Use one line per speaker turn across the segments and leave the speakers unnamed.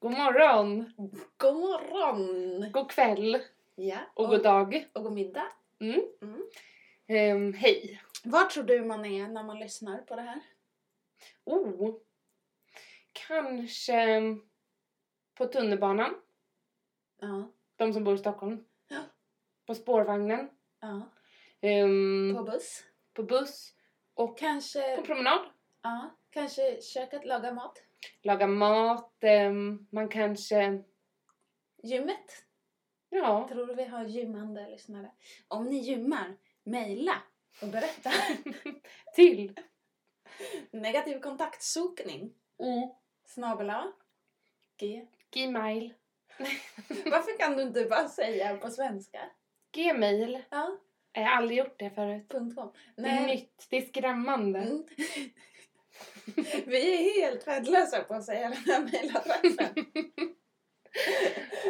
God morgon,
God morgon!
god kväll
Ja,
och god dag.
och god middag.
Ehm, hej.
Var tror du man är när man lyssnar på det här?
Oh, kanske på tunnelbanan,
Ja,
de som bor i Stockholm.
Ja.
På spårvagnen,
ja.
ehm,
På buss.
på buss, på
Kanske,
promenad.
ja, kanske köket, laga mat.
Laga mat, ehm, man kanske...
Gymmet.
Ja,
Tror du vi har gymmande lyssnare? Om ni gymmar, mejla och berätta.
till.
Negativ kontaktsokning.
Mm.
Snabel G.
Gmail.
Varför kan du inte bara säga på svenska?
Gmail.
Ja,
Jag har aldrig gjort det förut.
punkt com.
Det är nytt, det är skrämmande.
Mm. Vi är helt värdelösa på att säga den här mejladressen.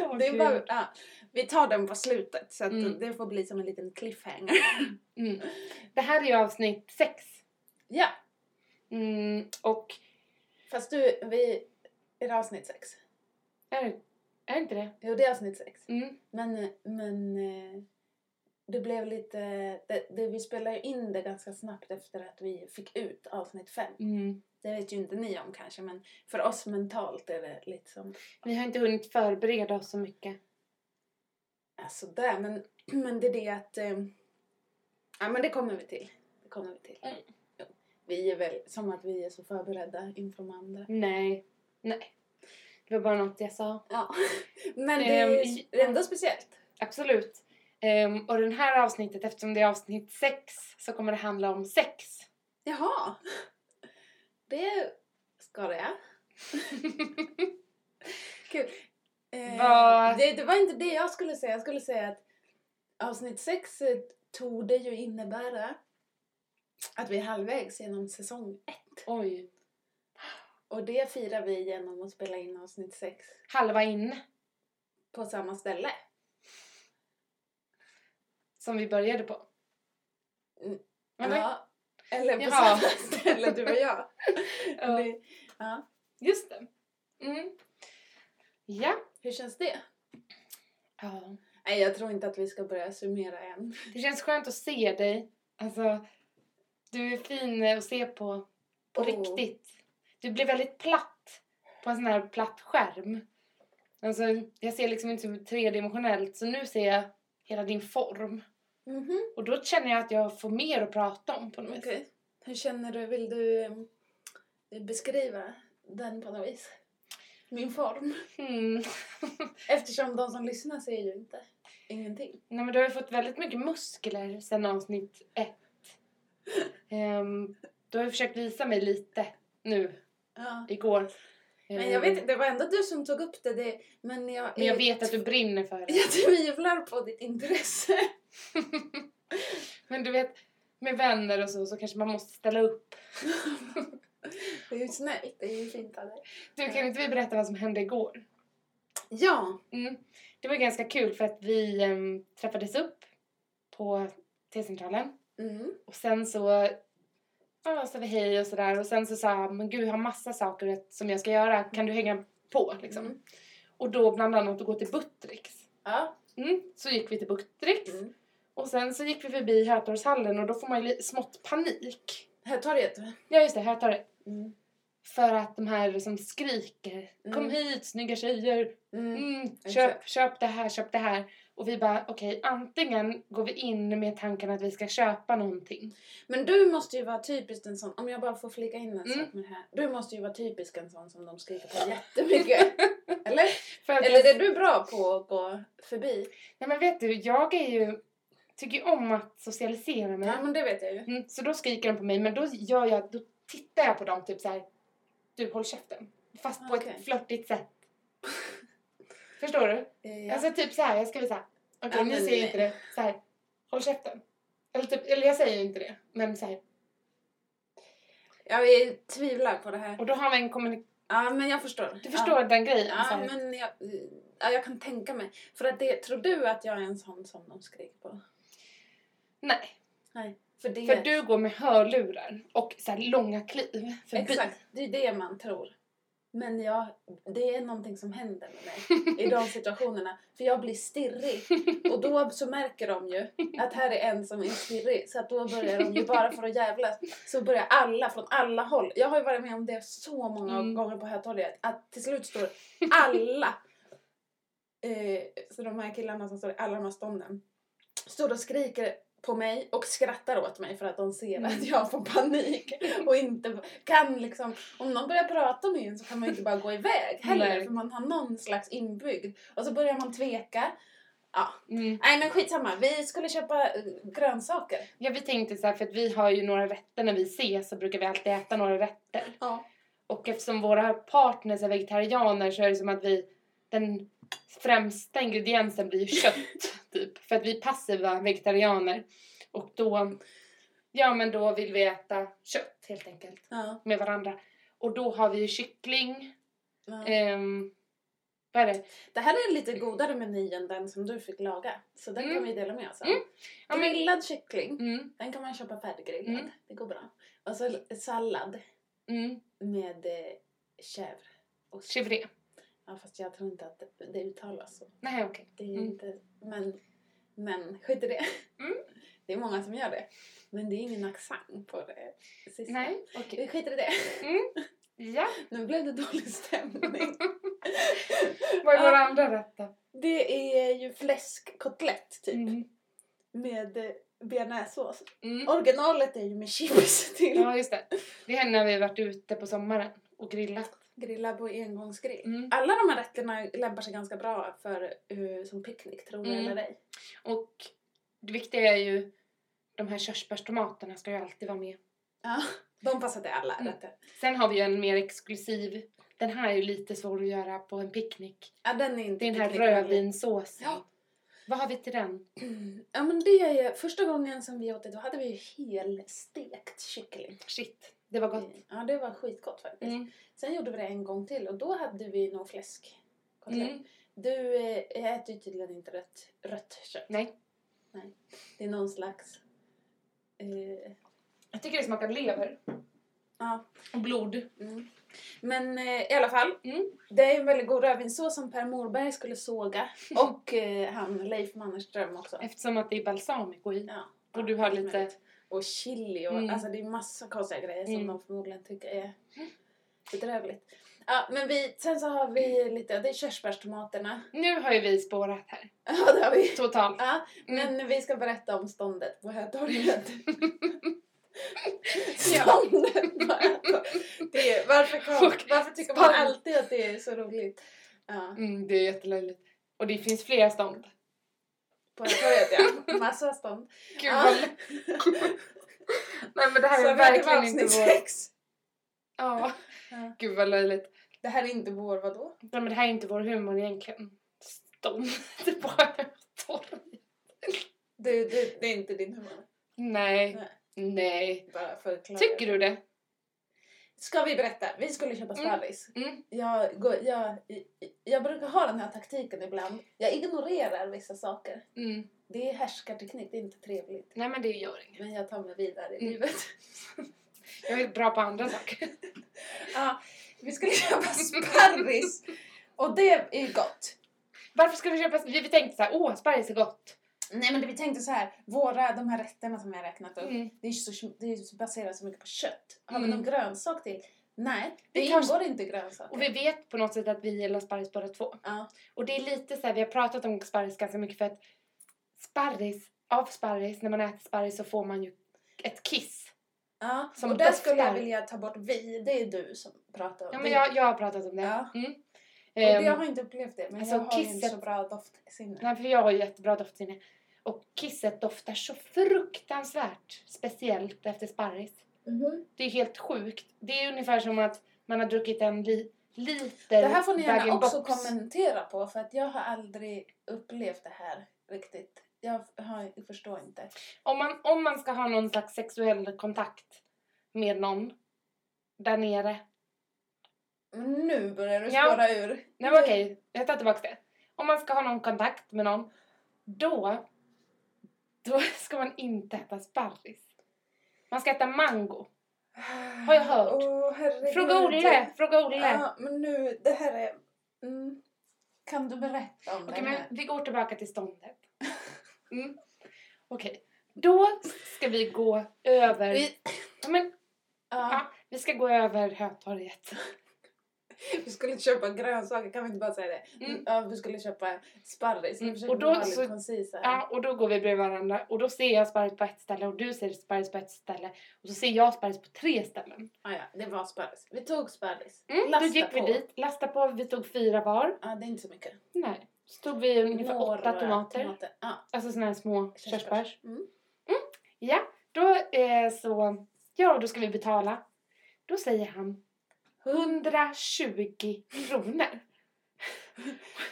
Åh,
Det är
gud.
bara, ja, vi tar den på slutet så att
Mm.
det får bli som en liten cliffhanger.
Mm. Det här är ju avsnitt sex.
Ja,
Mm, och
fast du, vi, är det avsnitt sex?
är, det- är det inte det?
Jo, det är avsnitt sex.
Mm.
Men, men eh, det blev lite, det, det, vi spelade ju in det ganska snabbt efter att vi fick ut avsnitt fem.
Mm.
Det vet ju inte ni om kanske, men för oss mentalt är det lite som
Vi har inte hunnit förbereda oss så mycket.
Alltså där, men, men det är det att... Eh, ja, men det kommer vi till. Det kommer vi till.
Mm.
Jo. Vi är väl som att vi är så förberedda inför de andra.
Nej, nej. Det var bara något jag sa.
Ja. Men det är
Ehm,
ju det är ändå speciellt.
Absolut. Ehm, och det här avsnittet, eftersom det är avsnitt sex, så kommer det handla om sex.
Jaha! Det ska det. Kul. Eh,
Vad-
det, det var inte det jag skulle säga. Jag skulle säga att avsnitt 6 tog det ju innebära att vi är halvvägs genom säsong
Oj.
Och det firar vi genom att spela in avsnitt 6
Halva in,
på samma ställe.
som vi började på.
Mm.
Eller?
Ja. Eller på
Jaha.
samma ställe, du och jag.
Ja,
Eller- ja.
just det. Mm. Ja.
Hur känns det?
ja.
Nej, jag tror inte att vi ska börja summera än.
Det känns skönt att se dig. Alltså, du är fin att se på. På
Oh.
riktigt. Du blir väldigt platt på en sån här platt skärm. Alltså, jag ser liksom inte som tredimensionellt så nu ser jag hela din form.
Mhm,
Och då känner jag att jag får mer att prata om på något
Okej.
vis.
Hur känner du? Vill du eh, beskriva den på något vis? Min form.
Hmm.
Eftersom de som lyssnar ser ju inte ingenting.
Nej men du har ju fått väldigt mycket muskler sedan avsnitt ett. Ehm, du har ju försökt visa mig lite nu,
Ja.
igår.
Men
Ehm,
jag vet inte, det var ändå du som tog upp det. det Eh. men jag,
Men jag
är-
vet att du brinner för det.
Jag tvivlar på ditt intresse.
Men du vet, med vänner och så, så kanske man måste ställa upp.
Det är ju snällt, det är ju fint av dig.
Du, kan inte vi berätta vad som hände igår?
Ja,
Mm. Det var ganska kul för att vi em, träffades upp på T-centralen
mm.
och sen så ja, sa vi hej och sådär och sen så sa han men gud jag har massa saker som jag ska göra, kan du hänga på liksom?
Mm.
Och då bland annat att gå till Buttricks.
ja.
Mm. Så gick vi till Buttricks
Mm.
och sen så gick vi förbi Hötorgshallen och då får man ju li- smått panik.
Hötorget.
Ja just det, Hötorget.
Mm.
För att de här som skriker
Mm.
Kom hit snygga tjejer,
Mm.
Mm, köp,
Exakt.
köp det här, köp det här. Och vi bara, okej, antingen går vi in med tanken att vi ska köpa någonting.
Men du måste ju vara typiskt en sån, om jag bara får flika in en
Mm.
sak med det här. Du måste ju vara typisk en sån som de skriker på jättemycket. Eller?
För att
Eller
jag,
är du bra på att gå förbi?
nej men vet du, jag är ju, tycker ju om att socialisera mig.
Ja, men det vet jag ju.
Mm, så då skriker de på mig, men då gör jag, då tittar jag på dem typ så här. du håll käften. Fast på
Okej.
ett flörtigt sätt. Förstår du?
Ja.
Alltså typ så här, jag ska visa. Okej,
Ja,
ni
men-
ser ju inte det. Så här, håll käften. Eller, typ, eller jag säger ju inte det, men så här.
jag är- tvivlar på det här.
Och då har vi en kommunikation.
Ja, men jag förstår.
Du
Ja.
förstår den grejen? så
Ja,
här.
men jag, ja, jag kan tänka mig. För att det, tror du att jag är en sån som de skriker på?
Nej,
Nej. För, det,
för du går med hörlurar och så här långa kliv förbi.
Exakt, det är det man tror. Men jag, det är någonting som händer med mig i de situationerna. För jag blir stirrig. Och då så märker de ju att här är en som är stirrig. Så att då börjar de ju, bara för att jävlas, så börjar alla från alla håll. Jag har ju varit med om det så många
Mm.
gånger på Hötorget. Att till slut står alla. Eh, så de här killarna som står i alla de här stånden. Står och skriker på mig och skrattar åt mig för att de ser
Mm.
att jag får panik och inte kan liksom om någon börjar prata med en så kan man ju inte bara gå iväg heller
Nej.
för man har någon slags inbyggd. Och så börjar man tveka.
Mm.
Nej men skitsamma, vi skulle köpa eh, grönsaker.
Ja, vi tänkte så här, för att vi har ju några rätter när vi ses så brukar vi alltid äta några rätter.
Ja.
Och eftersom våra partners är vegetarianer så är det som att vi... Den främsta ingrediensen blir ju kött, typ. För att vi är passiva vegetarianer. Och då... Ja, men då vill vi äta kött, helt enkelt.
ja.
Med varandra. Och då har vi ju kyckling.
ja.
ehm, vad är det?
Det här är en lite godare meny än den som du fick laga. Så den
Mm.
kan vi dela med oss av.
Mm. Ja, men-
Grillad kyckling,
Mm,
den kan man köpa färdiggrillad.
Mm.
Det går bra. Och så l- sallad
mm,
med eh, chèvre. Och
chivré.
Ja fast jag tror inte att det- det uttalas så.
Nej, okej.
Det är
Mm.
inte, men, men skit i det.
Mm.
Det är många som gör det. Men det är ingen accent på det sista.
Nej, okej.
Vi skiter i det.
Ja,
Nu blev det dålig stämning.
vad är
Ja.
våra andra rätt då?
Det är ju fläskkotlett typ.
Mm,
Med eh, bearnaisesås.
mm.
Originalet är ju med chips till.
Ja, just det. Det är när vi har varit ute på sommaren och grillat.
Grilla på engångsgrill.
Mm.
Alla de här rätterna lämpar sig ganska bra för eh, som picknick, tror jag
Mm.
eller ej.
Och det viktiga är ju, de här körsbärstomaterna ska ju alltid vara med.
Ja, de passar till alla
Mm.
rätter.
Sen har vi ju en mer exklusiv, den här är ju lite svår att göra på en picknick.
Ja, den är inte
Det är den här
picknickvänlig.
rödvinssåsen.
Ja.
Vad har vi till den?
Ja men det är första gången som vi åt det då hade vi ju helstekt kyckling.
Shit, det var gott.
Ja det var skitgott faktiskt.
Mm.
Sen gjorde vi det en gång till och då hade vi nog fläskkotlett.
Mm.
Du eh, äter ju tydligen inte rött, rött kött.
Nej.
Det är någon slags... Eh,
Jag tycker det smakar lever
ja.
och blod.
Mm. Men eh, i alla fall.
Mm.
Det är en väldigt god rödvinssås som Per Morberg skulle såga. Och eh, han Leif Mannerström också.
Eftersom att det är balsamico i.
Ja.
Och du har
allt
lite...
möjligt. Och chili och
Mm.
alltså det är massa konstiga grejer som
Mm.
de förmodligen tycker är bedrövligt. Ja, men vi, sen så har vi lite, det är körsbärstomaterna.
Nu har ju vi spårat här.
Ja, det har vi.
Totalt. Mm.
Ja, men vi ska berätta om ståndet på Hötorget.
Ja.
Ståndet på Hötorget. Det är, varför, kom,
Och
varför tycker man
stånd.
alltid att det är så roligt? Ja,
Mm, det är jättelöjligt. Och det finns flera stånd.
på Hötorget ja. Massa stånd.
Gud
Ja.
vad... Nej men det här
Ah. Så det här
är
var
verkligen inte
avsnitt
vår...
sex.
Ja.
Ja.
Gud vad löjligt.
Det här är inte vår vadå?
Nej men det här är inte vår humor egentligen. Ståndet på torget.
Du, du, det är inte din humor.
Nej.
Nej.
Nej.
Bara för att klara
Tycker du det?
Ska vi berätta? Vi skulle köpa
Mm.
sparris.
Mm.
Jag, går, jag, jag brukar ha den här taktiken ibland. Jag ignorerar vissa saker.
Mm.
Det är härskarteknik, det är inte trevligt.
Nej men det gör inget.
Men jag tar mig vidare i
Mm.
livet.
Jag är bra på andra saker.
Ja, vi skulle köpa sparris. Och det är ju gott.
Varför ska vi köpa... Vi vi tänkte så här, åh sparris är gott.
Nej men det, vi tänkte så här, våra, de här rätterna som jag räknat upp.
Mm.
Det är ju så, det är ju baserat så mycket på kött. Har vi
Mm.
någon grönsak till? Nej, det,
Det
ingår
kanske-
inte grönsaker.
Och vi vet på något sätt att vi gillar sparris båda två.
Ja.
Och det är lite så här, vi har pratat om sparris ganska mycket för att sparris, av sparris, när man äter sparris så får man ju ett kiss.
Ja,
Som
och där skulle jag
doftar.
vilja ta bort vi. Det är du som pratar om
Ja
vi.
men jag, jag har pratat om det.
Ja.
Mm.
och
Ehm,
det, jag har inte upplevt det, men
alltså,
jag har ju inte
kisset-
så bra doftsinne.
Nej, för jag har ju jättebra doftsinne. Och kisset doftar så fruktansvärt speciellt efter sparris.
Mhm.
Det är helt sjukt. Det är ungefär som att man har druckit en li, liter
Det här får ni gärna
Bag-in-Box.
också kommentera på, för att jag har aldrig upplevt det här riktigt. Jag, har, jag förstår inte.
Om man, om man ska ha någon slags sexuell kontakt med någon där nere.
Men nu börjar du
Ja.
spåra ur.
Nej men okej, jag tar tillbaka det. Om man ska ha någon kontakt med någon, då, då ska man inte äta sparris. Man ska äta mango. Har jag hört.
Åh, herregud.
Fråga Olle! Fråga Olle!
Ja, men nu, det här är... Mm. Kan du berätta om
Okej,
det
men
här?
vi går tillbaka till ståndet. Mm. Okej, då ska vi gå över...
Vi-
Ja, men,
Ja,
ja, vi ska gå över Hötorget.
vi skulle köpa grönsaker, kan vi inte bara säga det?
Mm.
Ja, vi skulle köpa sparris.
Mm,
Nu försöker
och
vi
då
vara
så-
lite koncisa här.
Ja, och då går vi bredvid varandra och då ser jag sparris på ett ställe och du ser sparris på ett ställe och så ser jag sparris på tre ställen.
Ah, ja, det var sparris. Vi tog sparris.
Mm, då
Lasta
gick vi
på.
dit, lastade på, vi tog fyra var.
Ja, det är inte så mycket.
Nej. Så tog vi ungefär åtta tomater.
Ja,
Alltså såna här små körsbärs.
Mm.
Ja, då eh, så... Ja, då ska vi betala. Då säger han 120 kronor.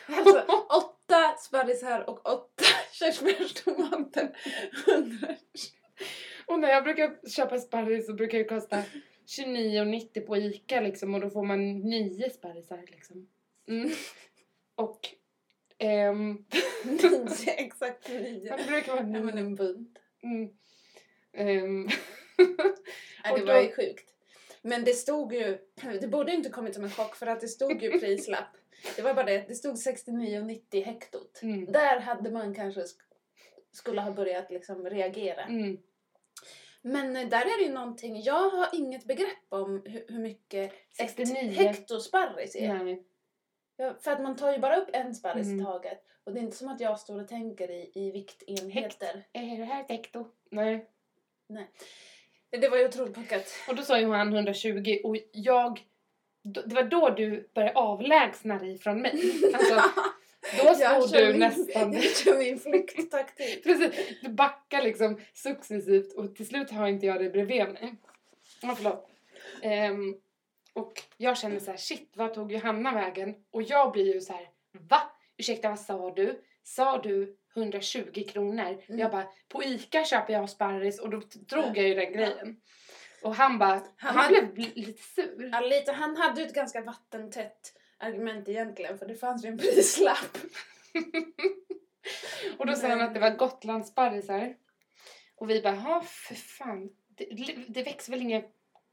Alltså, åtta sparrisar och åtta körsbärstomater. Hundra.
Och när jag brukar köpa sparris så brukar det kosta 29,90 på Ica liksom och då får man nio sparrisar liksom. Mm. Och... Ehm,
Nio, exakt nio.
det brukar vara
Ja, men en bunt.
Mm. Ehm,
Ja,
Och
det
då-
var ju sjukt. Men det stod ju, det borde ju inte kommit som en chock för att det stod ju prislapp. Det var bara det, det stod 69,90 hektot.
mm.
Där hade man kanske sk- skulle ha börjat liksom reagera.
Mm.
Men eh, där är det ju någonting, jag har inget begrepp om hur, hur mycket
69.
ett hektosparris är.
Nej.
Ja, för att man tar ju bara upp en sparris
Mm.
i taget. Och det är inte som att jag står och tänker i, i viktenheter.
Är det här ett ekto? Nej.
Det var ju otroligt puckat.
Och då sa ju han 120 och jag... d- Det var då du började avlägsna dig från mig. Alltså, då stod du nästan...
Jag kör min flykttaktik.
Precis, du backar liksom successivt och till slut har inte jag dig bredvid mig. Ja, förlåt. Ehm, och jag känner så här, shit, vad tog Johanna vägen? Och jag blir ju så här, va? Ursäkta, vad sa du? Sa du 120 kronor?
Mm.
Jag bara, på ICA köper jag sparris och då t- drog jag ju den grejen. Och han bara, han,
Han hade-
blev bl- lite sur.
Ja, lite, han hade ju ett ganska vattentätt argument egentligen för det fanns ju en prislapp.
Och då sa han att det var Gotlandssparrisar. Och vi bara, ja för fan. Det, det växer väl inga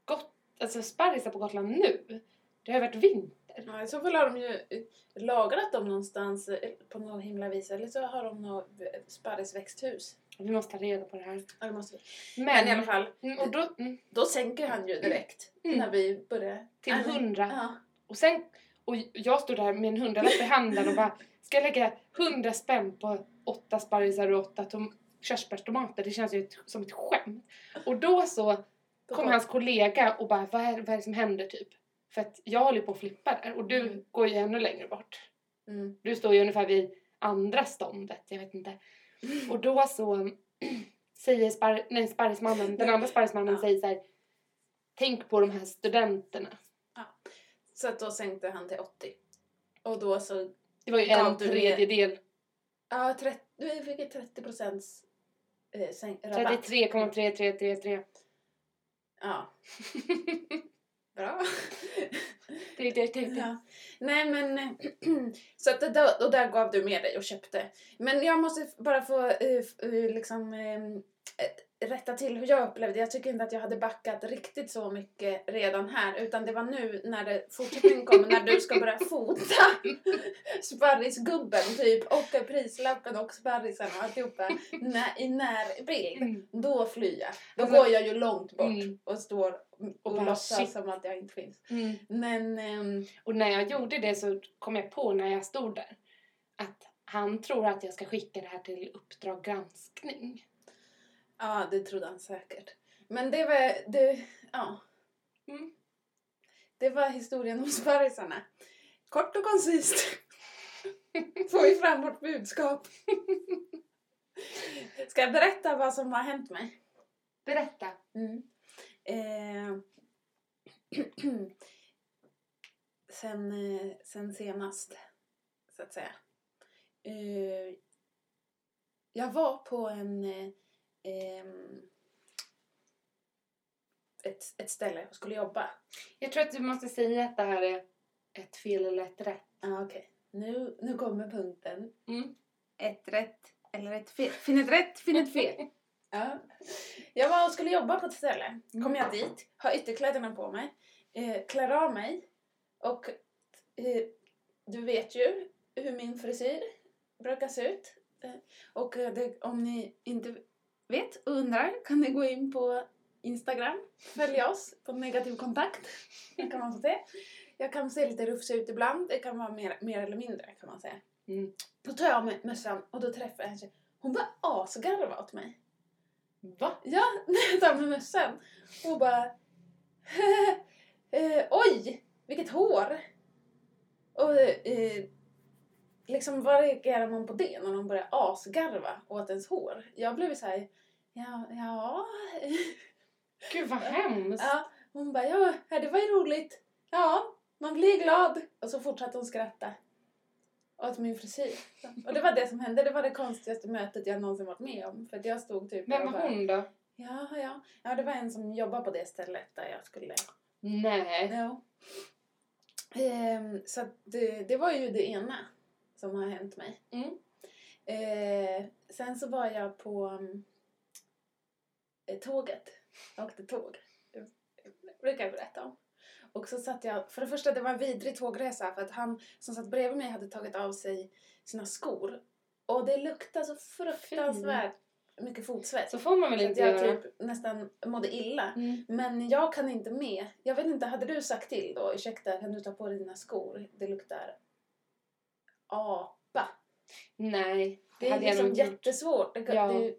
gott, alltså sparrisar på Gotland nu? Det har ju varit vinter.
Ja, I så fall har de ju eh, lagrat dem någonstans eh, på någon himla vis eller så har de något eh, sparrisväxthus.
Vi måste ta reda på det här.
Ja, det måste vi.
Men,
Men i alla fall,
Mm, och då, mm,
då sänker han ju direkt
Mm.
när vi börjar.
till
Ja, men-
hundra.
Ja.
Och sen, och jag stod där med en hundralapp i handen och bara, ska jag lägga hundra spänn på åtta sparrisar och åtta tom- körsbärstomater? Det känns ju ett, som ett skämt. Och då så kom hans kollega och bara, vad är, vad är det som händer typ? För att jag håller på att flippa där och du
Mm.
går ju ännu längre bort.
Mm.
Du står ju ungefär vid andra ståndet, jag vet inte.
Mm.
Och då så säger spar, nej, sparrismannen, den andra sparrismannen
Ja.
säger så här, tänk på de här studenterna.
Så att då sänkte han till 80. Och då så...
Det var ju
Gav
en
du det?
tredjedel,
Ja, 30, vi fick ett 30 procents eh, sänk- rabatt.
33,3333.
Ja. Bra.
Det, det, det, det.
ja. Typ. Nej men... eh, så att det där, och där gav du med dig och köpte. Men jag måste f- bara få eh, f- eh, liksom... eh, eh, rätta till hur jag upplevde Jag tycker inte att jag hade backat riktigt så mycket redan här. Utan det var nu när det fortsättningen kommer, när du ska börja fota sparrisgubben typ och prislappen och sparrisen och alltihopa nä, i närbild.
Mm.
Då flyr jag. Då
Alltså-
går jag ju långt bort
Mm.
och står
Och
och,
bara,
låtsas
shit.
som att jag inte finns.
Mm.
Men ehm,
Och när jag gjorde det så kom jag på när jag stod där att han tror att jag ska skicka det här till Uppdrag granskning.
ja, det trodde han säkert. Men det var, det, ja.
Mm.
det var historien om sparrisarna. Kort och koncist. Får vi fram vårt budskap. Ska jag berätta vad som har hänt mig?
Berätta.
Mm. Eh, sen, eh, sen senast, så att säga. Eh, jag var på en... Eh, ehm, ett, ett ställe och skulle jobba.
Jag tror att du måste säga att det här är ett fel eller ett rätt.
Ah, okej. nu, nu kommer punkten.
Mm.
Ett rätt eller ett fel. Finn ett rätt, finn ett fel. ja. Jag var och skulle jobba på ett ställe. Kom jag dit, har ytterkläderna på mig, eh, klär av mig och eh, du vet ju hur min frisyr brukar se ut. Eh, och eh, det, om ni inte vet och undrar kan ni gå in på Instagram, följa oss på negativ kontakt. Det kan man få se. Jag kan se lite rufsig ut ibland, det kan vara mer, mer eller mindre kan man säga.
Mm.
Då tar jag av mig mössan och då träffar jag en tjej. Hon bara asgarva åt mig.
Va?
Ja, när jag tar med mössan. Och bara... eh, oj, vilket hår! Och eh, liksom vad reagerar man på det när någon börjar asgarva åt ens hår? Jag blev så här... Ja, ja.
Gud vad hemskt.
ja. Hon bara, ja, det var ju roligt. Ja, man blir glad. Och så fortsatte hon skratta. Åt min frisyr. Och det var det som hände. Det var det konstigaste mötet jag någonsin varit med om. För att jag stod typ... och bara-
Vem var hon då?
Ja, ja. Ja, det var en som jobbade på det stället där jag skulle...
Nej.
Ja. Ehm, så att det, det var ju det ena som har hänt mig.
Mm.
Ehm, sen så var jag på mm, eh, tåget. Jag åkte tåg. Det brukar jag berätta om. Och så satt jag... För det första, det var en vidrig tågresa för att han som satt bredvid mig hade tagit av sig sina skor. Och det luktade så fruktansvärt mycket fotsvett.
Så får man väl
Så att
inte
jag
göra?
typ nästan mådde illa.
Mm.
Men jag kan inte med. Jag vet inte, hade du sagt till då? Ursäkta, kan du ta på dig dina skor? Det luktar apa.
Nej.
Det är
Hade jag
liksom
nog gjort.
jättesvårt. Det, kan-
Ja.
det,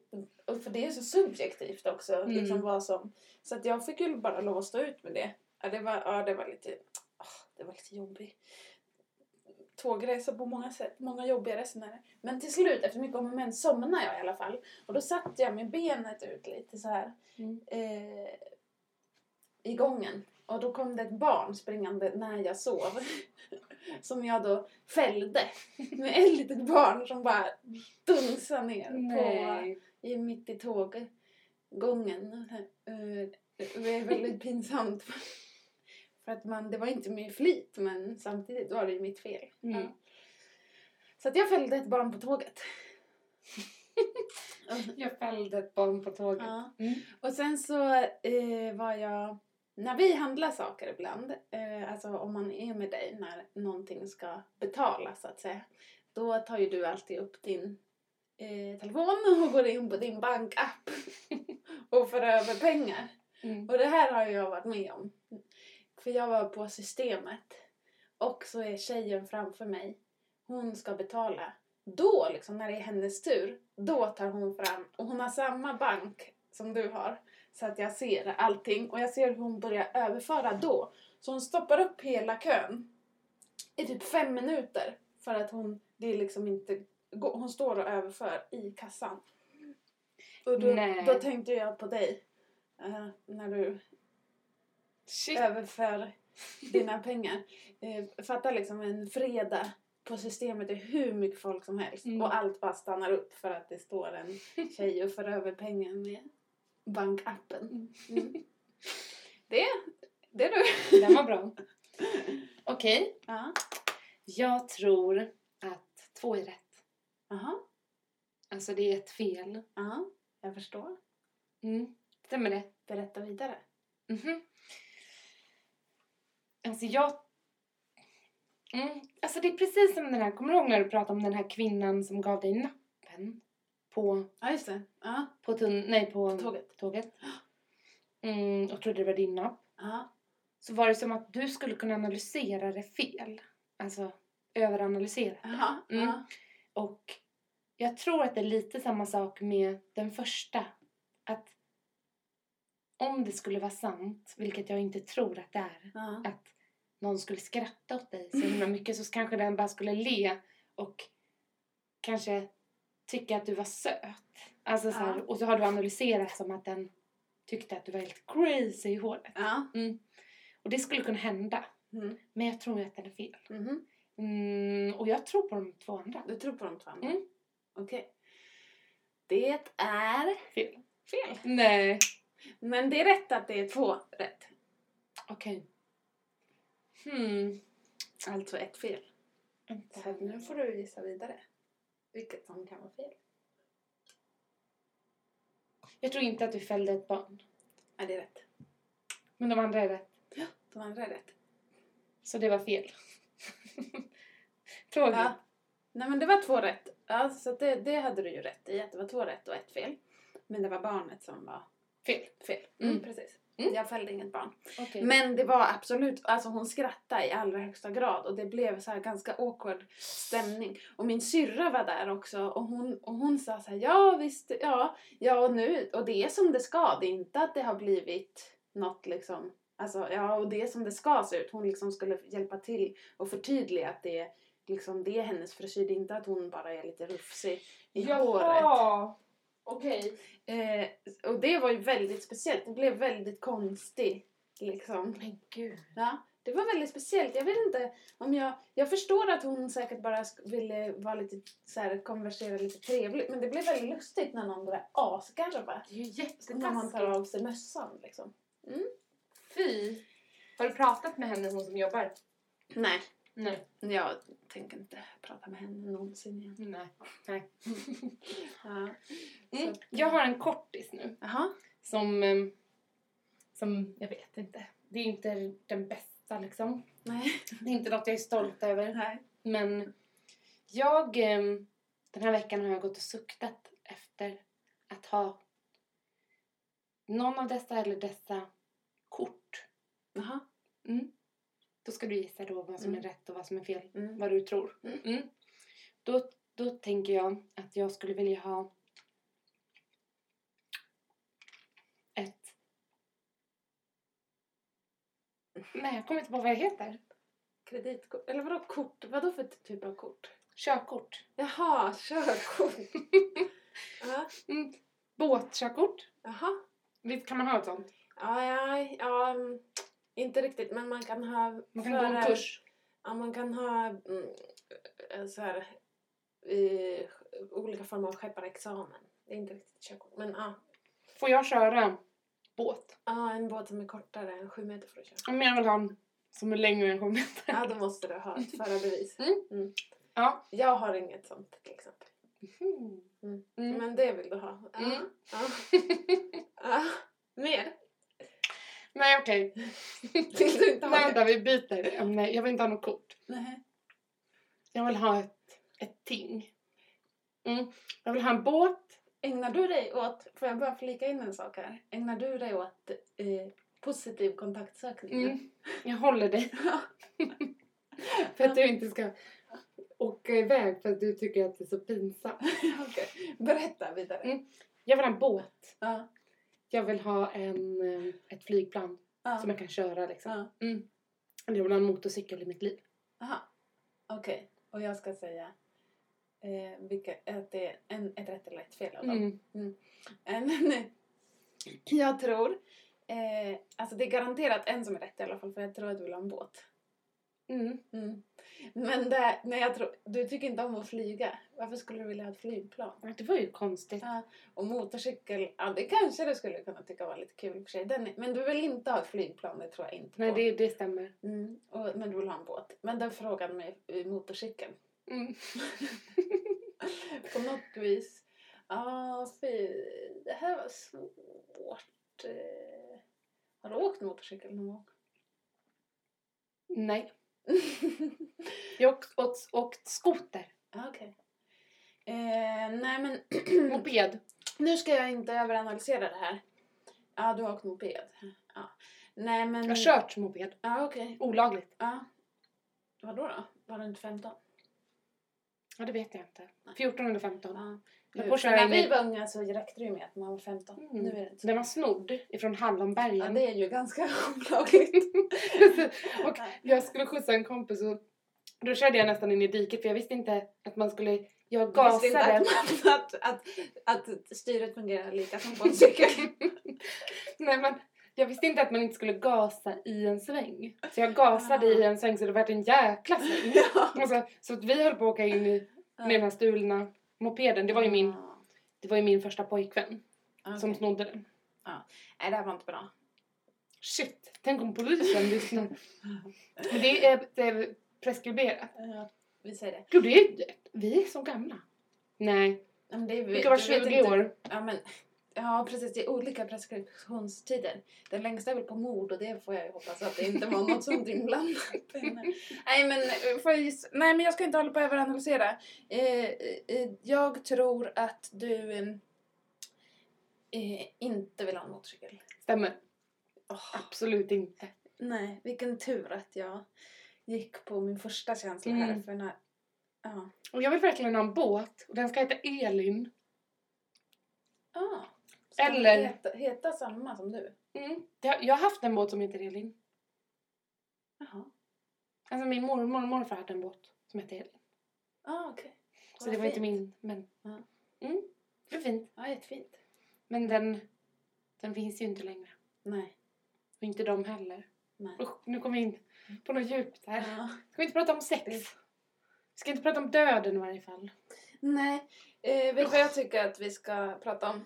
och för det är så subjektivt också.
Mm.
Liksom vad som, så att jag fick ju bara lov att stå ut med det. Ja, det var, ja, det var lite... ah, det var lite jobbigt. Tågresa på många sätt. Många jobbiga resenärer. Men till slut, efter mycket om och men, somnade jag i alla fall. Och då satt jag med benet ut lite så här
Mm.
eh, i gången. Och då kom det ett barn springande när jag sov. Som jag då fällde. Med ett litet barn som bara dunsade ner på,
Nej.
i, mitt i tåggången. Eh, Det är väldigt pinsamt. För att man, det var inte med flit men samtidigt var det ju mitt fel.
Mm.
Ja. Så att jag fällde ett barn på tåget.
Jag fällde ett barn på tåget.
Ja.
Mm.
Och sen så eh, var jag... När vi handlar saker ibland, eh, alltså om man är med dig när någonting ska betalas så att säga, då tar ju du alltid upp din eh, telefon och går in på din bankapp och för över pengar.
Mm.
Och det här har jag varit med om. För jag var på systemet och så är tjejen framför mig. Hon ska betala. Då, liksom, när det är hennes tur, då tar hon fram och hon har samma bank som du har. Så att jag ser allting och jag ser hur hon börjar överföra då. Så hon stoppar upp hela kön i typ fem minuter för att hon, det är liksom inte, hon står och överför i kassan. Och då,
Nej.
då tänkte jag på dig. eh, när du
Shit.
överför dina pengar. Eh, fatta liksom en fredag på systemet är hur mycket folk som helst
Mm.
och allt bara stannar upp för att det står en tjej och för över pengar med bankappen. Mm. Det, det är du.
Den var bra. Okej.
Ja.
Jag tror att två är rätt.
Aha.
Alltså det är ett fel.
Ja, jag förstår.
Mm. Stämmer det?
Berätta vidare.
Mhm. Alltså jag... Mm. Alltså det är precis som den här, kommer du ihåg när du pratade om den här kvinnan som gav dig nappen? På,
Ja, just det. Ja,
på tunn... Nej, på,
på tåget.
tåget. Mm, och trodde det var din napp.
Ja.
Så var det som att du skulle kunna analysera det fel. Alltså överanalysera.
Aha.
Mm.
Ja.
Och jag tror att det är lite samma sak med den första. Att om det skulle vara sant, vilket jag inte tror att det är,
Ja.
att någon skulle skratta åt dig så himla mycket så kanske den bara skulle le och kanske tycka att du var söt. Alltså så här,
Ja.
Och så har du analyserat som att den tyckte att du var helt crazy i håret. Mm.
Ja.
Och det skulle kunna hända.
Mm.
Men jag tror ju att den är fel.
Mhm.
Mm, och jag tror på de två andra.
Du tror på de två andra?
Mm.
Okej. Det är
Fel.
fel.
Nej.
Men det är rätt att det är två rätt.
Okej. Hmm.
Alltså ett fel.
Vänta.
Så nu får du gissa vidare. Vilket som kan vara fel.
Jag tror inte att du fällde ett barn.
Ja, det är rätt.
Men de andra är rätt.
De andra är rätt.
Så det var fel. Tråkigt.
Ja. Nej men det var två rätt. Ja, så att det, det hade du ju rätt i att det var två rätt och ett fel. Men det var barnet som var
Fel.
fel. Mm,
Mm.
precis.
Mm.
Jag fällde inget barn.
Okej.
Men det var absolut, alltså hon skrattade i allra högsta grad och det blev så här ganska awkward stämning. Och min syrra var där också och hon, och hon sa så här, ja visst, ja, ja och nu, och det är som det ska, det är inte att det har blivit något liksom, alltså ja och det är som det ska se ut. Hon liksom skulle hjälpa till och förtydliga att det är liksom det är hennes frisyr, det är inte att hon bara är lite rufsig i håret.
Jaha! Okej.
Eh, och det var ju väldigt speciellt, det blev väldigt konstigt liksom.
Men gud.
Ja, det var väldigt speciellt. Jag vet inte om jag... Jag förstår att hon säkert bara sk- ville vara lite så här, konversera lite trevligt. Men det blir väldigt lustigt när någon börjar asgarva.
Det är ju
När man
jättetaskigt.
tar av sig mössan liksom.
Fy. Har du pratat med henne, hon som jobbar?
Nej,
Nej.
jag tänker inte prata med henne någonsin igen.
Nej. Nej.
Ja.
Mm.
Så-
Jag har en kortis nu
Jaha.
som, ehm, som jag vet inte. Det är inte den bästa liksom.
Nej.
Det är inte något jag är stolt över.
Nej.
Men jag, ehm, den här veckan har jag gått och suktat efter att ha någon av dessa eller dessa kort.
Jaha.
Mm. Då ska du gissa då vad som
Mm.
är rätt och vad som är fel.
Mm.
Vad du tror.
Mm.
Mm. Då, då tänker jag att jag skulle vilja ha ett... Nej, jag kommer inte på vad jag heter.
Kreditkort? Eller vadå kort? Vadå för typ av kort?
Körkort.
Jaha, körkort. Ja.
Mm. Båtkörkort.
Jaha.
Visst kan man ha ett sånt?
Ja, ja, ja, mm, inte riktigt men man kan ha...
Man kan gå en
förar-
kurs.
Ja, man kan ha mm, eh, så här, eh, olika former av skepparexamen. Det är inte riktigt körkort. Men ja,
Får jag köra båt?
ah, en båt som är kortare än sju meter får du köra.
Om jag vill ha en som är längre än sju meter.
Ja, då måste du ha ett förarbevis.
Mm. Ja.
Jag har inget sånt till exempel. Mm.
Mm.
Men det vill du ha. Ja.
Mm.
ja. Ja. Mer?
Nej, okej.
Vill du inte ha
Nej,
det?
vänta, vi byter ämne. Jag vill inte ha något kort.
Nej.
Jag vill ha ett, ett ting. Mm. Jag vill ha en båt.
Ägnar du dig åt, får jag bara flika in en sak här? Ägnar du dig åt eh, positiv kontaktsökning?
Mm. Jag håller dig. för att du inte ska åka iväg för att du tycker att det är så pinsamt.
Okej, berätta vidare.
Mm. Jag vill ha en båt.
Ja,
Jag vill ha en, eh, ett flygplan
ja,
som jag kan köra. Liksom.
ja.
Mm. Jag vill ha en motorcykel i mitt liv.
Aha. Okej, och jag ska säga eh, vilka, att det är en, ett rätt eller ett fel av dem.
Mm.
En, nej. jag tror, eh, alltså det är garanterat en som är rätt i alla fall för jag tror att du vill ha en båt.
Mm.
Mm. Men det, nej, jag tror, du tycker inte om att flyga. Varför skulle du vilja ha ett flygplan?
Det var ju konstigt.
Ja. Och motorcykel, ja det kanske du skulle kunna tycka var lite kul i och för sig. Den, är- men du vill inte ha ett flygplan, det tror jag inte
Nej,
på.
det, det stämmer.
Mm, och, men du vill ha en båt. Men den frågan med eh, motorcykeln.
Mm.
På något vis. Ja, fy. Det här var svårt. Eh, Har du åkt motorcykel någon gång?
Nej. Jag har åkt, åkt, åkt skoter.
Ja, Okej. Eh, nej, men Mm.
Moped.
nu ska jag inte överanalysera det här. Ja, du har åkt moped. Ja. Nej, men...
Jag har kört moped.
Ja, okej.
Olagligt.
Ja. Vadå då? Var du inte 15?
Ja, det vet jag inte.
Nej.
14 eller 15.
Ja.
Jag
Nu,
får
för
köra
när
in
vi
i-
var unga så räckte det ju med att man var 15.
Mm.
Nu är det inte så.
Den var snodd ifrån
Ja,
Hallonbergen.
det är ju ganska olagligt.
och jag skulle skjutsa en kompis och då körde jag nästan in i diket för jag visste inte att man skulle... Jag
Visste inte
gasade.
att, man- att, att, att styret fungerar lika som på en cykel.
Nej, men jag visste inte att man inte skulle gasa i en sväng. Så jag gasade
Ah.
i en sväng så det vart en jäkla sväng.
ja.
Och så, så att vi höll på att åka in i, med den här stulna mopeden. Det var ju min, det var ju min första pojkvän
Ja,
som
okej.
snodde den.
Nej, det här var inte bra.
Shit, tänk om polisen lyssnar. Men det är, det är preskriberat.
Vi säger det.
Gud, det är, vi är så gamla. Nej,
Ja, Men det är,
vi kan vara
du vet
20
inte-
år.
Ja, men Ja precis, det är olika preskriptionstider. Den längsta är väl på mord och det får jag ju hoppas att det inte var något sånt inblandat. Men, Nej men, eh, får jag gissa? Nej men jag ska inte hålla på och överanalysera. Eh, eh, jag tror att du eh, eh, inte vill ha en motorcykel.
Stämmer.
Åh,
Absolut inte.
nej, vilken tur att jag gick på min första känsla här
Mm.
för när... Ja.
Och jag vill verkligen ha en båt. Och den ska heta Elin.
Ah, ska
Eller-
den Heta, heta samma som du?
Mm. Det har- Jag har haft en båt som heter Elin.
Jaha.
Alltså min mormor och morfar hade en båt som hette Elin.
Ah, okej.
Så
Vad
det var inte
fint.
min, men...
Ja.
Mm. Det var fint.
Ja, jättefint.
Men den, den finns ju inte längre.
Nej.
Och inte de heller.
Nej.
Usch, nu kom vi in på något djupt här.
Ja.
Ska vi inte prata om sex? Vi ska inte prata om döden i varje fall.
Nej, eh, vet du vad jag tycker att vi ska prata om?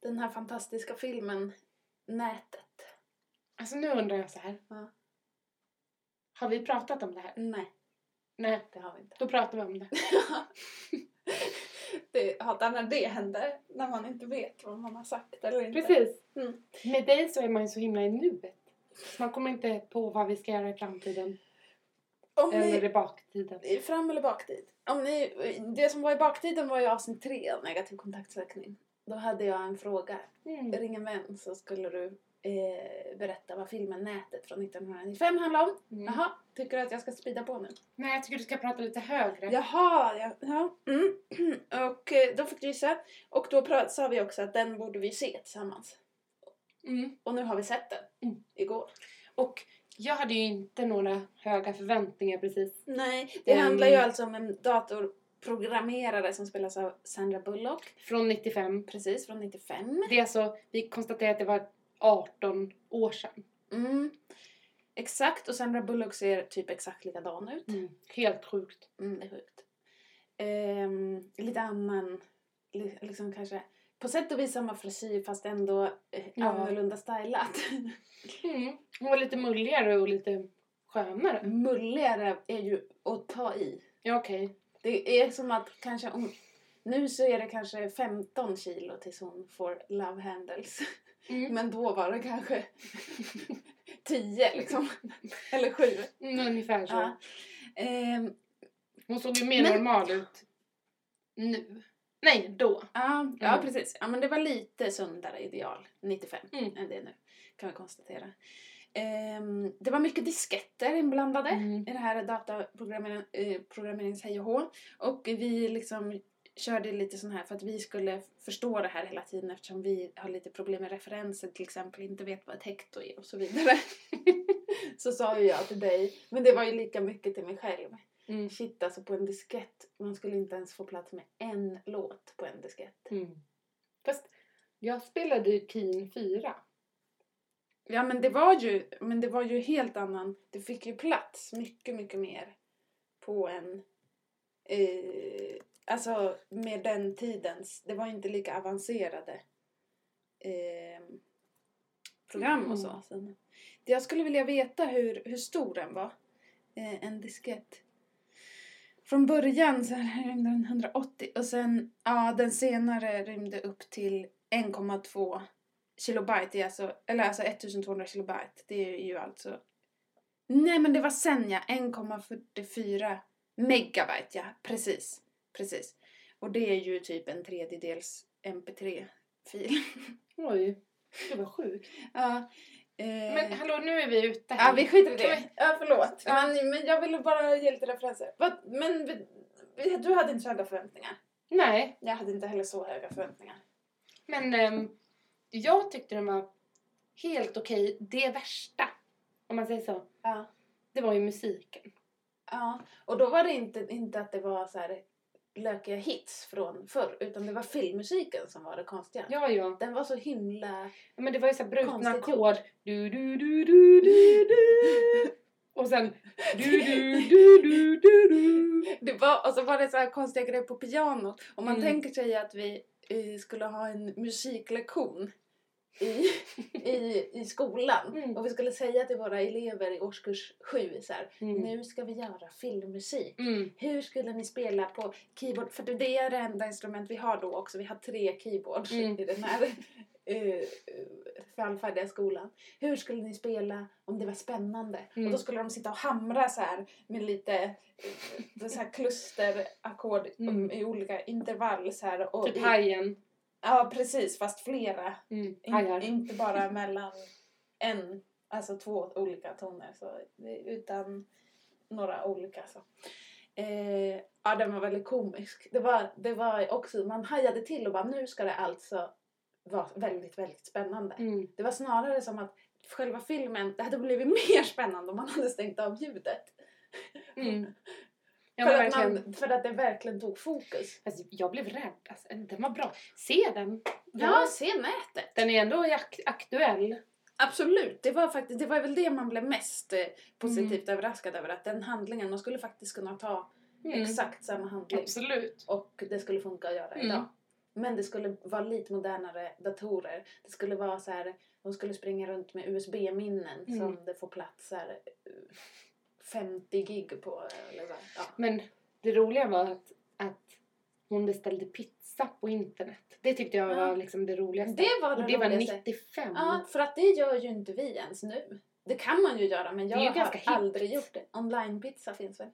Den här fantastiska filmen Nätet.
Alltså nu undrar jag så här.
Ja.
Har vi pratat om det här?
Nej,
Nej,
det har vi inte.
då pratar vi om det.
det hatar när det händer, när man inte vet vad man har sagt eller inte.
Precis.
Mm.
Med dig så är man ju så himla i nuet. Så man kommer inte på vad vi ska göra i framtiden.
Om
Eller
ni, Eh,
i baktiden.
fram eller baktid? Om ni, det som var i baktiden var ju avsnitt tre, negativ kontaktsökning. Då hade jag en fråga.
Mm.
Ring en vän så skulle du eh, berätta vad filmen Nätet från 1995 handlar om.
Mm.
Jaha, tycker du att jag ska spida på nu?
Nej, jag tycker du ska prata lite högre.
Jaha, ja. ja. Mm. Och eh, då fick du gissa. Och då pra- sa vi också att den borde vi se tillsammans.
Mm.
Och nu har vi sett den.
Mm.
Igår.
Och jag hade ju inte några höga förväntningar precis.
Nej, det
Mm.
handlar ju alltså om en datorprogrammerare som spelas av Sandra Bullock.
Från 95.
Precis, från 95.
Det är alltså, vi konstaterar att det var 18 år sedan.
Mm. Exakt, och Sandra Bullock ser typ exakt likadan ut.
Mm. Helt sjukt.
Mm, det är sjukt. Ehm, lite annan, li- liksom kanske på sätt och vis samma frisyr fast ändå eh,
Ja.
annorlunda stylat.
Mm. Hon var lite mulligare och lite skönare.
Mulligare är ju att ta i.
Ja, okej.
Det är som att kanske om, nu så är det kanske 15 kilo tills hon får love handles.
Mm.
Men då var det kanske 10 liksom. Eller 7.
Mm, ungefär så.
Ja. Ehm,
Hon såg ju mer
Men-
normal ut nu. Nej, då.
Ja, ja
Mm.
precis. Ja, men det var lite sundare ideal 95
Mm.
än det nu, kan vi konstatera. Ehm, det var mycket disketter inblandade
Mm.
i det här dataprogrammerings hej och hå. Och vi liksom körde lite sån här för att vi skulle förstå det här hela tiden eftersom vi har lite problem med referenser till exempel, inte vet vad ett hekto är och så vidare. så sa ju jag till dig, men det var ju lika mycket till mig själv.
Mm.
Shit alltså på en diskett, man skulle inte ens få plats med en låt på en diskett.
Mm. Fast jag spelade ju Keen 4.
Ja men det var ju, men det var ju helt annan, det fick ju plats mycket, mycket mer på en, eh, alltså med den tidens, det var ju inte lika avancerade eh, program och så.
Mm.
Sen, det jag skulle vilja veta hur, hur stor den var, eh, en diskett. Från början så här rymde den 180 och sen, ja den senare rymde upp till 1,2 kilobyte, är alltså, eller alltså 1200 kilobyte, det är ju alltså... Nej men det var sen ja, 1,44 megabyte ja, precis. Precis. Och det är ju typ en tredjedels mp3-fil.
Oj, det var sjukt.
ja, eh,
Men hallå, nu är vi ute
ja, vi skiter i
Kan
det. Ja, förlåt.
Ja.
Men, men jag ville bara ge lite referenser. Vad- Men vi- vi- du hade inte så höga förväntningar.
vi- Nej,
Jag hade inte heller så höga förväntningar.
men ehm, jag tyckte den var helt okej. Det värsta, om man säger så,
Ja.
det var ju musiken.
Ja, och då var det inte, inte att det var så här lökiga hits från förr, utan det var filmmusiken som var det konstiga.
Ja, ja.
Den var så himla...
Ja, Men det var ju så här brutna
Konstigt
ackord. Du, du, du, du, du, du. Och sen du, du, du, du, du, du.
Det var, och så var det så här konstiga grejer på pianot. Om man
Mm.
tänker sig att vi eh, skulle ha en musiklektion i, i, i skolan
Mm.
och vi skulle säga till våra elever i årskurs sju så här,
Mm.
nu ska vi göra filmmusik.
Mm.
Hur skulle ni spela på keyboard? För det är det enda instrument vi har då också. Vi har tre keyboards
Mm.
i den här eh, fallfärdiga skolan. Hur skulle ni spela om det var spännande?
Mm.
Och då skulle de sitta och hamra så här med lite eh, så här klusterackord
Mm.
i olika intervall så här. Och
Typ
i-
hajen.
Ja, precis. Fast flera.
Mm.
In,
Hajar.
Inte bara mellan en, alltså två olika toner. Så, utan några olika. Så. Eh, ja, den var väldigt komisk. Det var, det var också, man hajade till och bara nu ska det alltså vara väldigt, väldigt spännande.
Mm.
Det var snarare som att själva filmen, det hade blivit mer spännande om man hade stängt av ljudet.
Mm. Ja,
för,
men
att
verkligen.
man, för att det verkligen tog fokus.
Alltså, jag blev rädd. Alltså, den var bra. Se den.
Ja, se nätet!
Den är ändå ak- aktuell.
Absolut, det var, faktiskt, det var väl det man blev mest eh, positivt överraskad över. Att den handlingen, man skulle faktiskt kunna ta
Mm.
exakt samma handling
Absolut.
och det skulle funka att göra
Mm.
idag. Men det skulle vara lite modernare datorer. Det skulle vara så här, de skulle springa runt med USB-minnen
Mm.
som det får plats så här, eh, 50 gig på. Eller så. här. Ja.
Men det roliga var att, att hon beställde pizza på internet. Det tyckte jag
Ja.
var liksom det roligaste.
Det var det
Och det var
roligaste.
95.
Ja, för att det gör ju inte vi ens nu. Det kan man ju göra men
Det
jag
är ju
har
ganska hippt.
aldrig gjort det. Online-pizza finns väl?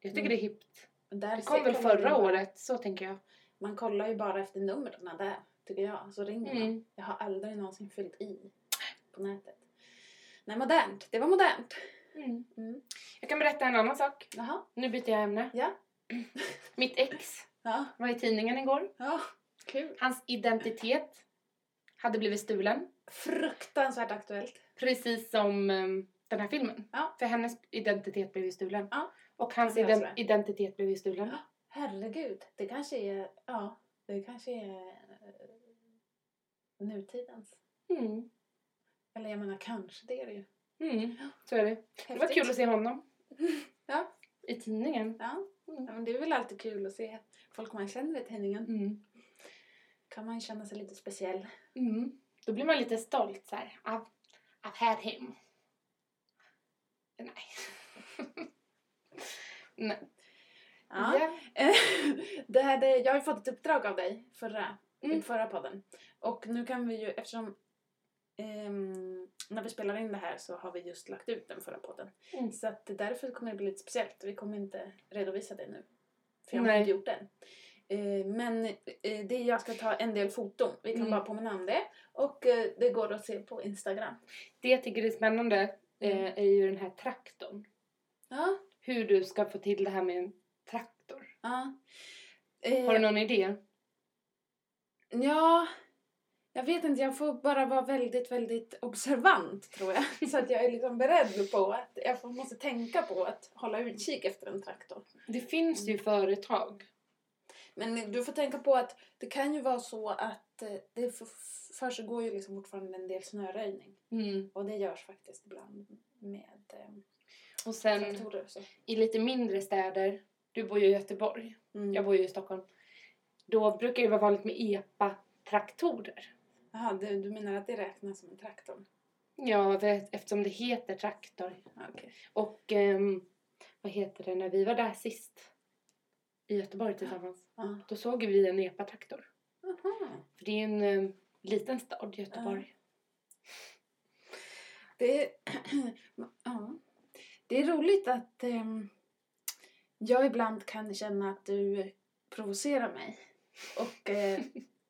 Jag tycker
Mm.
det är hippt.
Där
Det kom väl
kollar man
förra
bara-
året, så tänker jag.
Man kollar ju bara efter numren där, tycker jag. Så ringer man.
Mm.
Jag har aldrig någonsin fyllt i på nätet. Nej, modernt. Det var modernt.
Mm.
Mm.
Jag kan berätta en annan sak.
Jaha.
Nu byter jag ämne.
Ja.
Mitt ex
Ja.
var i tidningen igår.
ja. Kul.
Hans identitet hade blivit stulen.
Fruktansvärt aktuellt.
Precis som ehm, den här filmen.
Ja.
För hennes identitet blev ju stulen.
Ja.
Och hans
Jag löser
ident-
det.
identitet blev ju stulen.
Ja. Herregud. Det kanske är... Ja. Det kanske är eh, nutidens.
Mm.
Eller jag menar, kanske det är det ju.
Mm. Så är det. Det var
Häftigt.
kul att se honom.
Ja.
I tidningen.
Ja.
Mm.
ja, men det är väl alltid kul att se folk man känner i tidningen.
Mm.
Kan man känna sig lite speciell.
Mm. Då blir man lite stolt så här. I've, I've had him. Nej. Nej. Ja.
Eh, det här, det, jag har ju fått ett uppdrag av dig förra,
Mm.
i förra podden. Och nu kan vi ju, eftersom ehm, när vi spelar in det här så har vi just lagt ut den förra podden.
Mm.
Så att därför kommer det bli lite speciellt. Vi kommer inte redovisa det nu. För jag
Nej.
har inte gjort den. Eh, men eh, det jag ska ta en del foton. Vi kan
Mm.
bara påminna om det. Och eh, det går att se på Instagram.
Det jag tycker är spännande eh, är ju den här traktorn.
Ja.
Hur du ska få till det här med en traktor.
ja. Eh,
Har du någon idé?
Ja, jag vet inte. Jag får bara vara väldigt, väldigt observant tror jag. Så att jag är liksom beredd på att jag får- måste tänka på att hålla utkik efter en traktor.
Det finns ju företag.
Men du får tänka på att det kan ju vara så att eh, det för- försiggår ju liksom fortfarande en del snöröjning. Och det görs faktiskt ibland med eh,
Och sen
traktorer. och Så.
i lite mindre städer. Du bor ju i Göteborg.
Mm.
Jag bor ju i Stockholm. Då brukar det vara vanligt med EPA-traktorer.
Jaha, du, du menar att det räknas som en traktor?
Ja, det, eftersom det heter traktor.
Ja, Okej.
Och ehm, vad heter det när vi var där sist? I Göteborg tillsammans.
Ja.
Då såg vi en EPA-traktor.
Aha.
För det är ju en ehm, liten stad, Göteborg.
Det är, ja. det är roligt att ehm, jag ibland kan känna att du provocerar mig. Och eh,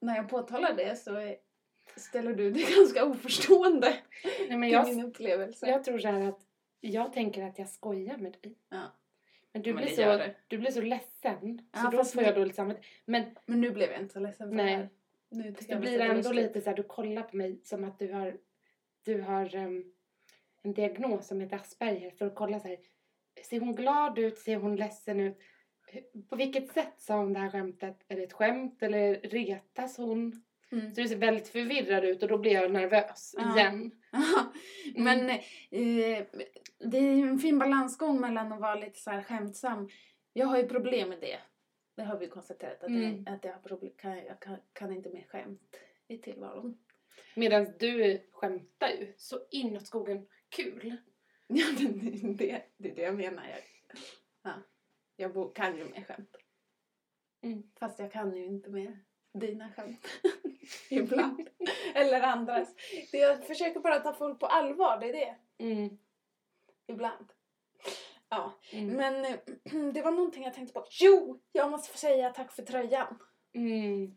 när jag påtalar det så eh, ställer du dig ganska oförstående
Nej, men
till
jag,
min upplevelse.
jag tror så här att jag tänker att jag skojar med dig.
Ja.
Men du,
Men
blir
det gör
så,
det.
du blir så ledsen.
Ja,
så då
fast
får
nu-
jag dåligt samvete. Men
Men nu blev jag inte så ledsen för
Nej.
det här. Nu tycker
det
jag
blir
mest att
ändå
är
lite så här, du kollar på mig som att du har, du har ehm, en diagnos som heter Asperger för att kolla så här, ser hon glad ut, ser hon ledsen ut? Hur- På vilket sätt sa hon det här skämtet? Är det ett skämt eller retas hon?
Mm.
Så du ser väldigt förvirrad ut och då blir jag nervös
Ja.
igen.
Mm. Men eh, det är ju en fin balansgång mellan att vara lite så här skämtsam. Jag har ju problem med det. Det har vi konstaterat. Att,
Mm.
jag, att jag, har problem, kan, jag kan, kan inte mer skämt i tillvaron.
Medan du skämtar ju så inåt skogen kul.
Ja, men det, det är det jag menar. Jag, ja. jag bo, kan ju mer skämt.
Mm.
Fast jag kan ju inte mer dina skämt. Ibland. Eller andras. Det, jag försöker bara ta folk på allvar, det är det.
Mm.
Ibland. Ja,
Mm.
men eh, det var någonting jag tänkte på. Jo! Jag måste få säga tack för tröjan.
Mm.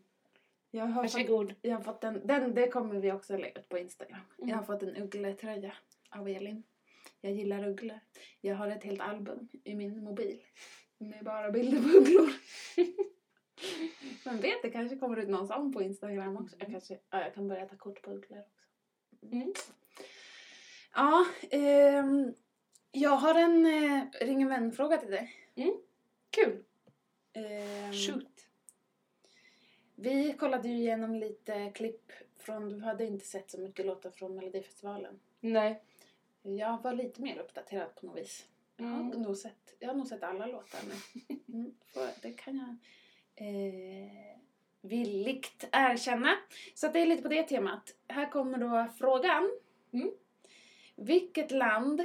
Jag har fått,
Varsågod.
jag har fått en, den, det kommer vi också lägga ut på Instagram.
Mm.
Jag har fått en uggletröja av Elin. Jag gillar ugglor. Jag har ett helt album i min mobil med bara bilder på ugglor. Men vet, det kanske kommer ut någon sån på Instagram också. Jag,
Mm.
kanske, ja, jag kan börja ta kort på ugglor också.
Mm.
Ja, ehm, jag har en eh, ring en vän-fråga till dig.
Kul. Mm.
Ehm,
Shoot.
Vi kollade ju igenom lite klipp från, du hade inte sett så mycket låtar från Melodifestivalen.
Nej.
Jag var lite mer uppdaterad på något vis. Jag, har
Mm.
nog sett, jag har nog sett alla låtar nu. Mm, för det kan jag eh, villigt erkänna. Så att det är lite på det temat. Här kommer då frågan.
Mm.
Vilket land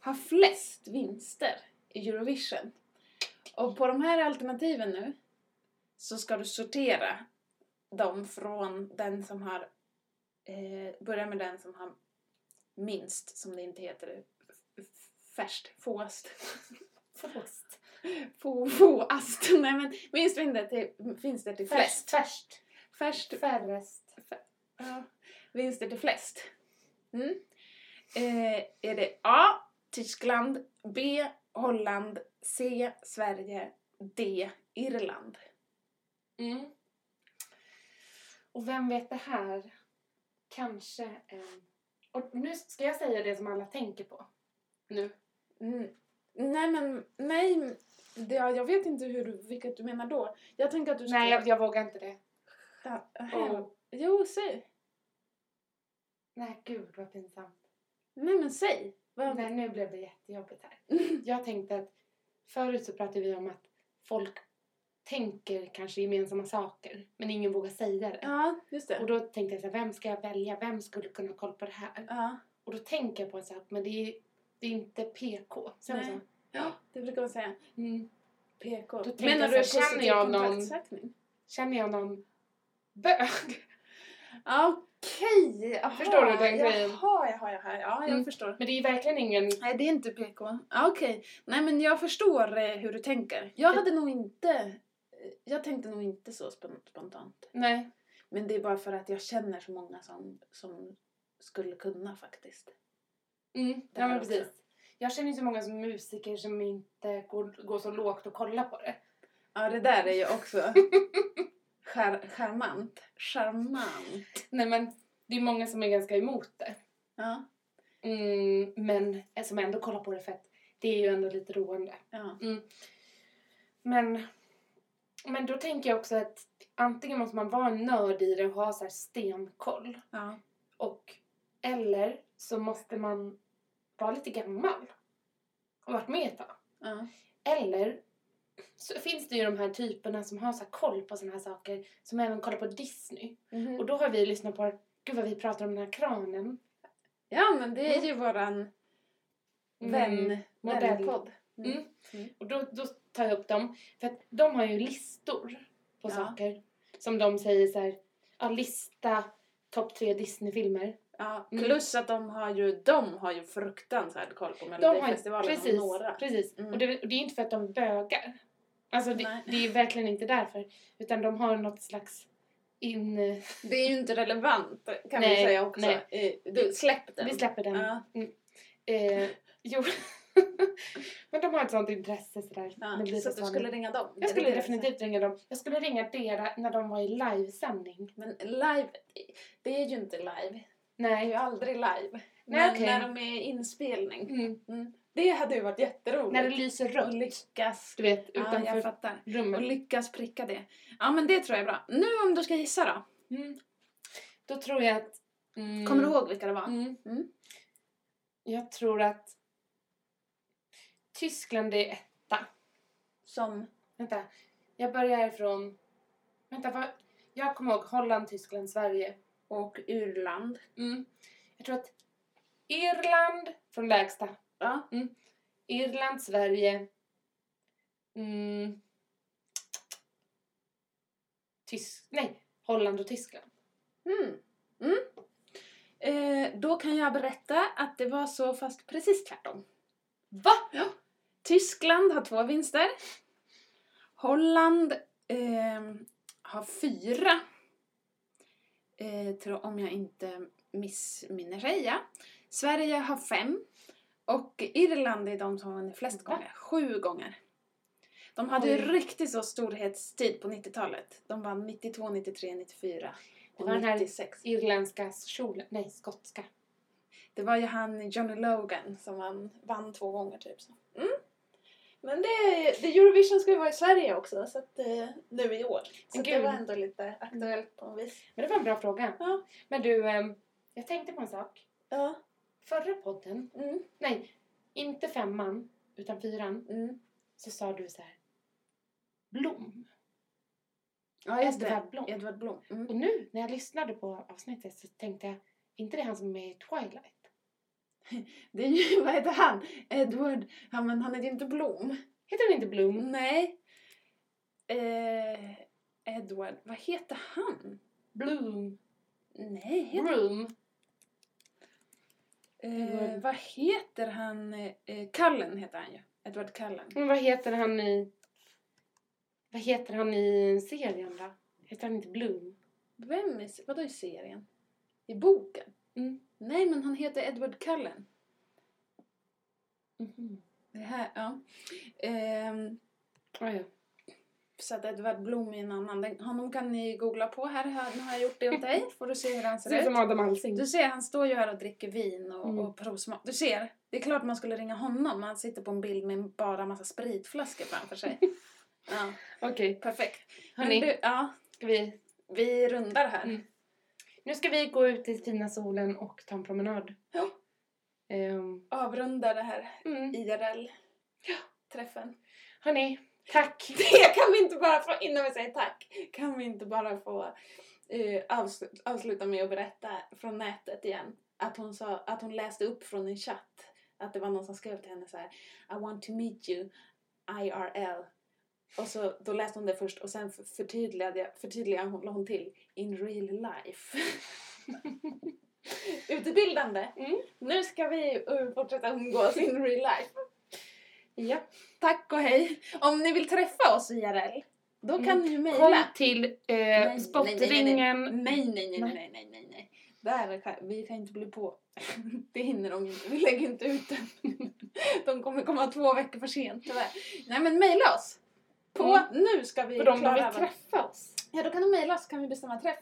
har flest vinster i Eurovision? Och på de här alternativen nu så ska du sortera dem från den som har... Eh, börja med den som har minst, som det inte heter. f- Färst, fåast.
Förlåt.
Få, fåast. Nej men minst vinster till, vinster till flest.
Färst. Färst.
Färst
Färrest.
Ja. Vinster till flest. Mm. Eh, är det A. Tyskland, B. Holland, C. Sverige, D. Irland.
Mm. Och vem vet det här? Kanske en... Och nu ska jag säga det som alla tänker på. Nu.
Mm. Nej men, nej. Det, ja, jag vet inte hur, du- vilket du menar då. Jag tänker att du
Nej, jag, jag vågar inte det.
Ja, här.
Oh.
Jo, säg.
Nej, gud vad pinsamt.
Nej men säg. Vad-
Nej, nu blev det jättejobbigt här. Jag tänkte att förut så pratade vi om att folk tänker kanske gemensamma saker men ingen vågar säga det.
Ja, just
Och
det.
då tänkte jag så här, vem ska jag välja? Vem skulle kunna ha koll på det här?
Ja.
Och då tänker jag på en sak, men det är, det är inte PK. Sen
Nej.
så här,
ja, det brukar man säga.
mm,
PK.
Då tänkte jag så här, känner jag någon-
kontaktsökning?
känner jag någon bög?
Ja, Okej! jaha,
Förstår du den grejen?
Jaha, jaha, jaha. Ja, jag
Mm.
förstår.
Men det är verkligen ingen...
Nej, det är inte PK. Ja, Okej. Nej, men jag förstår eh, hur du tänker. Jag hade nog inte... eh, Jag tänkte nog inte så spon- spontant.
Nej.
Men det är bara för att jag känner så många som, som skulle kunna faktiskt.
Mm,
Det
ja,
här
men
också.
precis. Jag känner ju så många som musiker som inte går, går så lågt och kollar på det.
Ja, det där är ju också char- charmant. Charmant.
Nej, men det är många som är ganska emot det.
Ja,
Mm, men som ändå kollar på det för att det är ju ändå lite roande. Mm.
ja.
Men, men då tänker jag också att antingen måste man vara en nörd i det och ha så här stenkoll.
ja.
Och, eller så måste man vara lite gammal och varit med ett tag.
ja.
Eller så finns det ju de här typerna som har så här koll på såna här saker som även kollar på Disney.
Mhm.
Och då har vi lyssnat på, gud vad vi pratar om den här kranen.
ja, men det är ju våran
Mm.
vän,
modell.
vänpodd. Mm.
Mm. Och då, då tar jag upp dem. För att de har ju listor på
Ja.
saker. Som de säger så här, ja lista topp tre Disney-filmer.
Ja,
Mm.
plus att de har ju, de har ju fruktansvärd koll på
De har
Melodifestivalen
precis,
och några.
precis.
Mm.
Och, det, och det är inte för att de är bögar. Alltså det,
Nej.
det är verkligen inte därför. Utan de har något slags in...
Det är ju inte relevant kan vi
Nej,
säga också.
nej.
Eh, Du, släpp den.
Vi släpper den.
Ja,
Eh, jo. Men de har ett sånt intresse sådär.
ja.
med lite
Så att du
sån-
skulle ringa dem?
jag skulle
Det är det
definitivt ringa dem. Jag skulle ringa deras när de var i livesändning.
Men live, det är ju inte live. Det är ju
Nej.
aldrig live.
Nej,
Men
okej.
när de är i inspelning.
Mm.
Mm. Det hade ju varit jätteroligt.
När det lyser
Och
rött.
lyckas.
Mm. Du vet,
Ja, jag
utanför
fattar. Och
rummet.
lyckas pricka det. Ja, men det tror jag är bra. Nu om du ska gissa då.
Mm. Då tror jag att... Mm,
Kommer du ihåg vilka det var?
Mm.
Mm.
Jag tror att Tyskland är etta.
Som...
Vänta, jag börjar från... Vänta, vad... Jag kommer ihåg Holland, Tyskland, Sverige.
och Irland.
Mm. Jag tror att Irland från lägsta. Mm.
Ja.
Irland, Sverige. Mm. Tysk... Nej, Holland och Tyskland.
Mm. Mm. Eh, då kan jag berätta att det var så fast precis tvärtom.
Va?
Tyskland har två vinster. Holland ehm, har fyra. Eh, tror- om jag inte missminner sig, ja. Sverige har fem. Och Irland är de som har vunnit flest
Va?
gånger. Sju gånger. De hade ju
Oj.
riktigt så storhetstid på 90-talet. De vann 92, 93, 94
Det
och
var den här-
96.
Irländska kjolen. Nej, skotska.
Det var ju han Johnny Logan som vann, vann två gånger typ. Så. Mm. Men det, det Eurovision ska ju vara i Sverige också så att, eh, nu i år. Så
Men
att det
gud.
var ändå lite aktuellt på något vis.
Men det var en bra fråga.
Ja.
Men du, ehm, jag tänkte på en sak.
Ja.
Förra podden,
Mm.
nej, inte femman, utan fyran,
Mm.
så sa du så här. Blom.
Ja, just det.
Edvard Blom.
Edvard Blom. Mm.
Och nu när jag lyssnade på avsnittet så tänkte jag, inte det han som är med i Twilight?
Det är ju, vad heter han? Edward, ja men han heter ju inte Blom.
Heter han inte Blom?
Nej. Eh, Edward, vad heter han?
Bloom.
Nej, heter,
Room.
eh,
Edward.
vad heter han? Eh, Cullen heter han ju. Edward Cullen.
Men vad heter han i... Vad heter han i serien då? Heter han inte Bloom?
Vem i, vadå i serien? I boken?
Mm.
Nej, men han heter Edward Cullen.
Mhm.
Det här, ja. Ehm,
Ah, ja.
så att Edward Blom är en annan. Den, honom kan ni googla på här. här nu har jag gjort det åt dig. Får du se hur han
Ser ut
ser
som
ut.
Adam Alsing.
Du ser, han står ju här och dricker vin och,
Mm.
och provsmakar. Du ser, det är klart man skulle ringa honom. Han sitter på en bild med bara massa spritflaskor framför sig. ja,
Okej,
perfekt. Men
hörni.
du, ja,
Ska vi...
vi rundar här.
Mm. Nu ska vi gå ut i fina solen och ta en promenad.
Ja.
Ehm,
Avrundar det här
mm.
IRL-träffen.
Hörni, tack!
Det kan vi inte bara få, innan vi säger tack, kan vi inte bara få eh, avslu- avsluta med att berätta från nätet igen. Att hon, sa, att hon läste upp från en chatt. Att det var någon som skrev till henne så här. I want to meet you IRL. Och så, då läste hon det först och sen förtydligade, jag- förtydligade hon, la hon till in real life. Utbildande.
Mm.
Nu ska vi eh, fortsätta umgås in real life.
Ja.
Tack och hej! Om ni vill träffa oss IRL, då kan
Mm.
ni ju
Kom
mejla.
till eh,
Nej,
spottringen.
Nej, nej, nej, nej, nej, nej, nej, nej. Där kan, vi kan inte bli på. Det hinner de inte. Vi lägger inte ut den. De kommer komma två veckor för sent tyvärr. Nej men mejla oss! På,
Mm.
nu ska vi
För de som
klara
vill
av-
träffa oss.
Ja då kan du mejla oss så kan vi bestämma träff.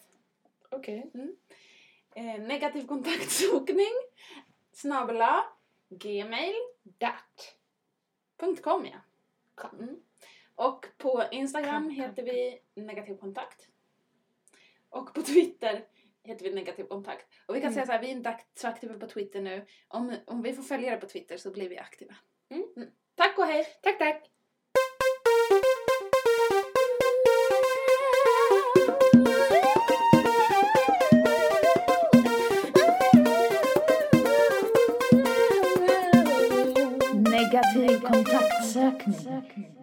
Okej.
Eh, negativ kontaktsökning snabela gmail.com
Dat.
ja. Mm. Och på Instagram
Kam, kam,
heter vi negativ kontakt. Och på Twitter heter vi negativ kontakt. Och vi kan
Mm.
säga så här, vi är inte akt- så aktiva på Twitter nu. Om, om vi får följare på Twitter så blir vi aktiva.
Mm.
Tack och hej!
Tack, tack!
Negativ kontaktsökning.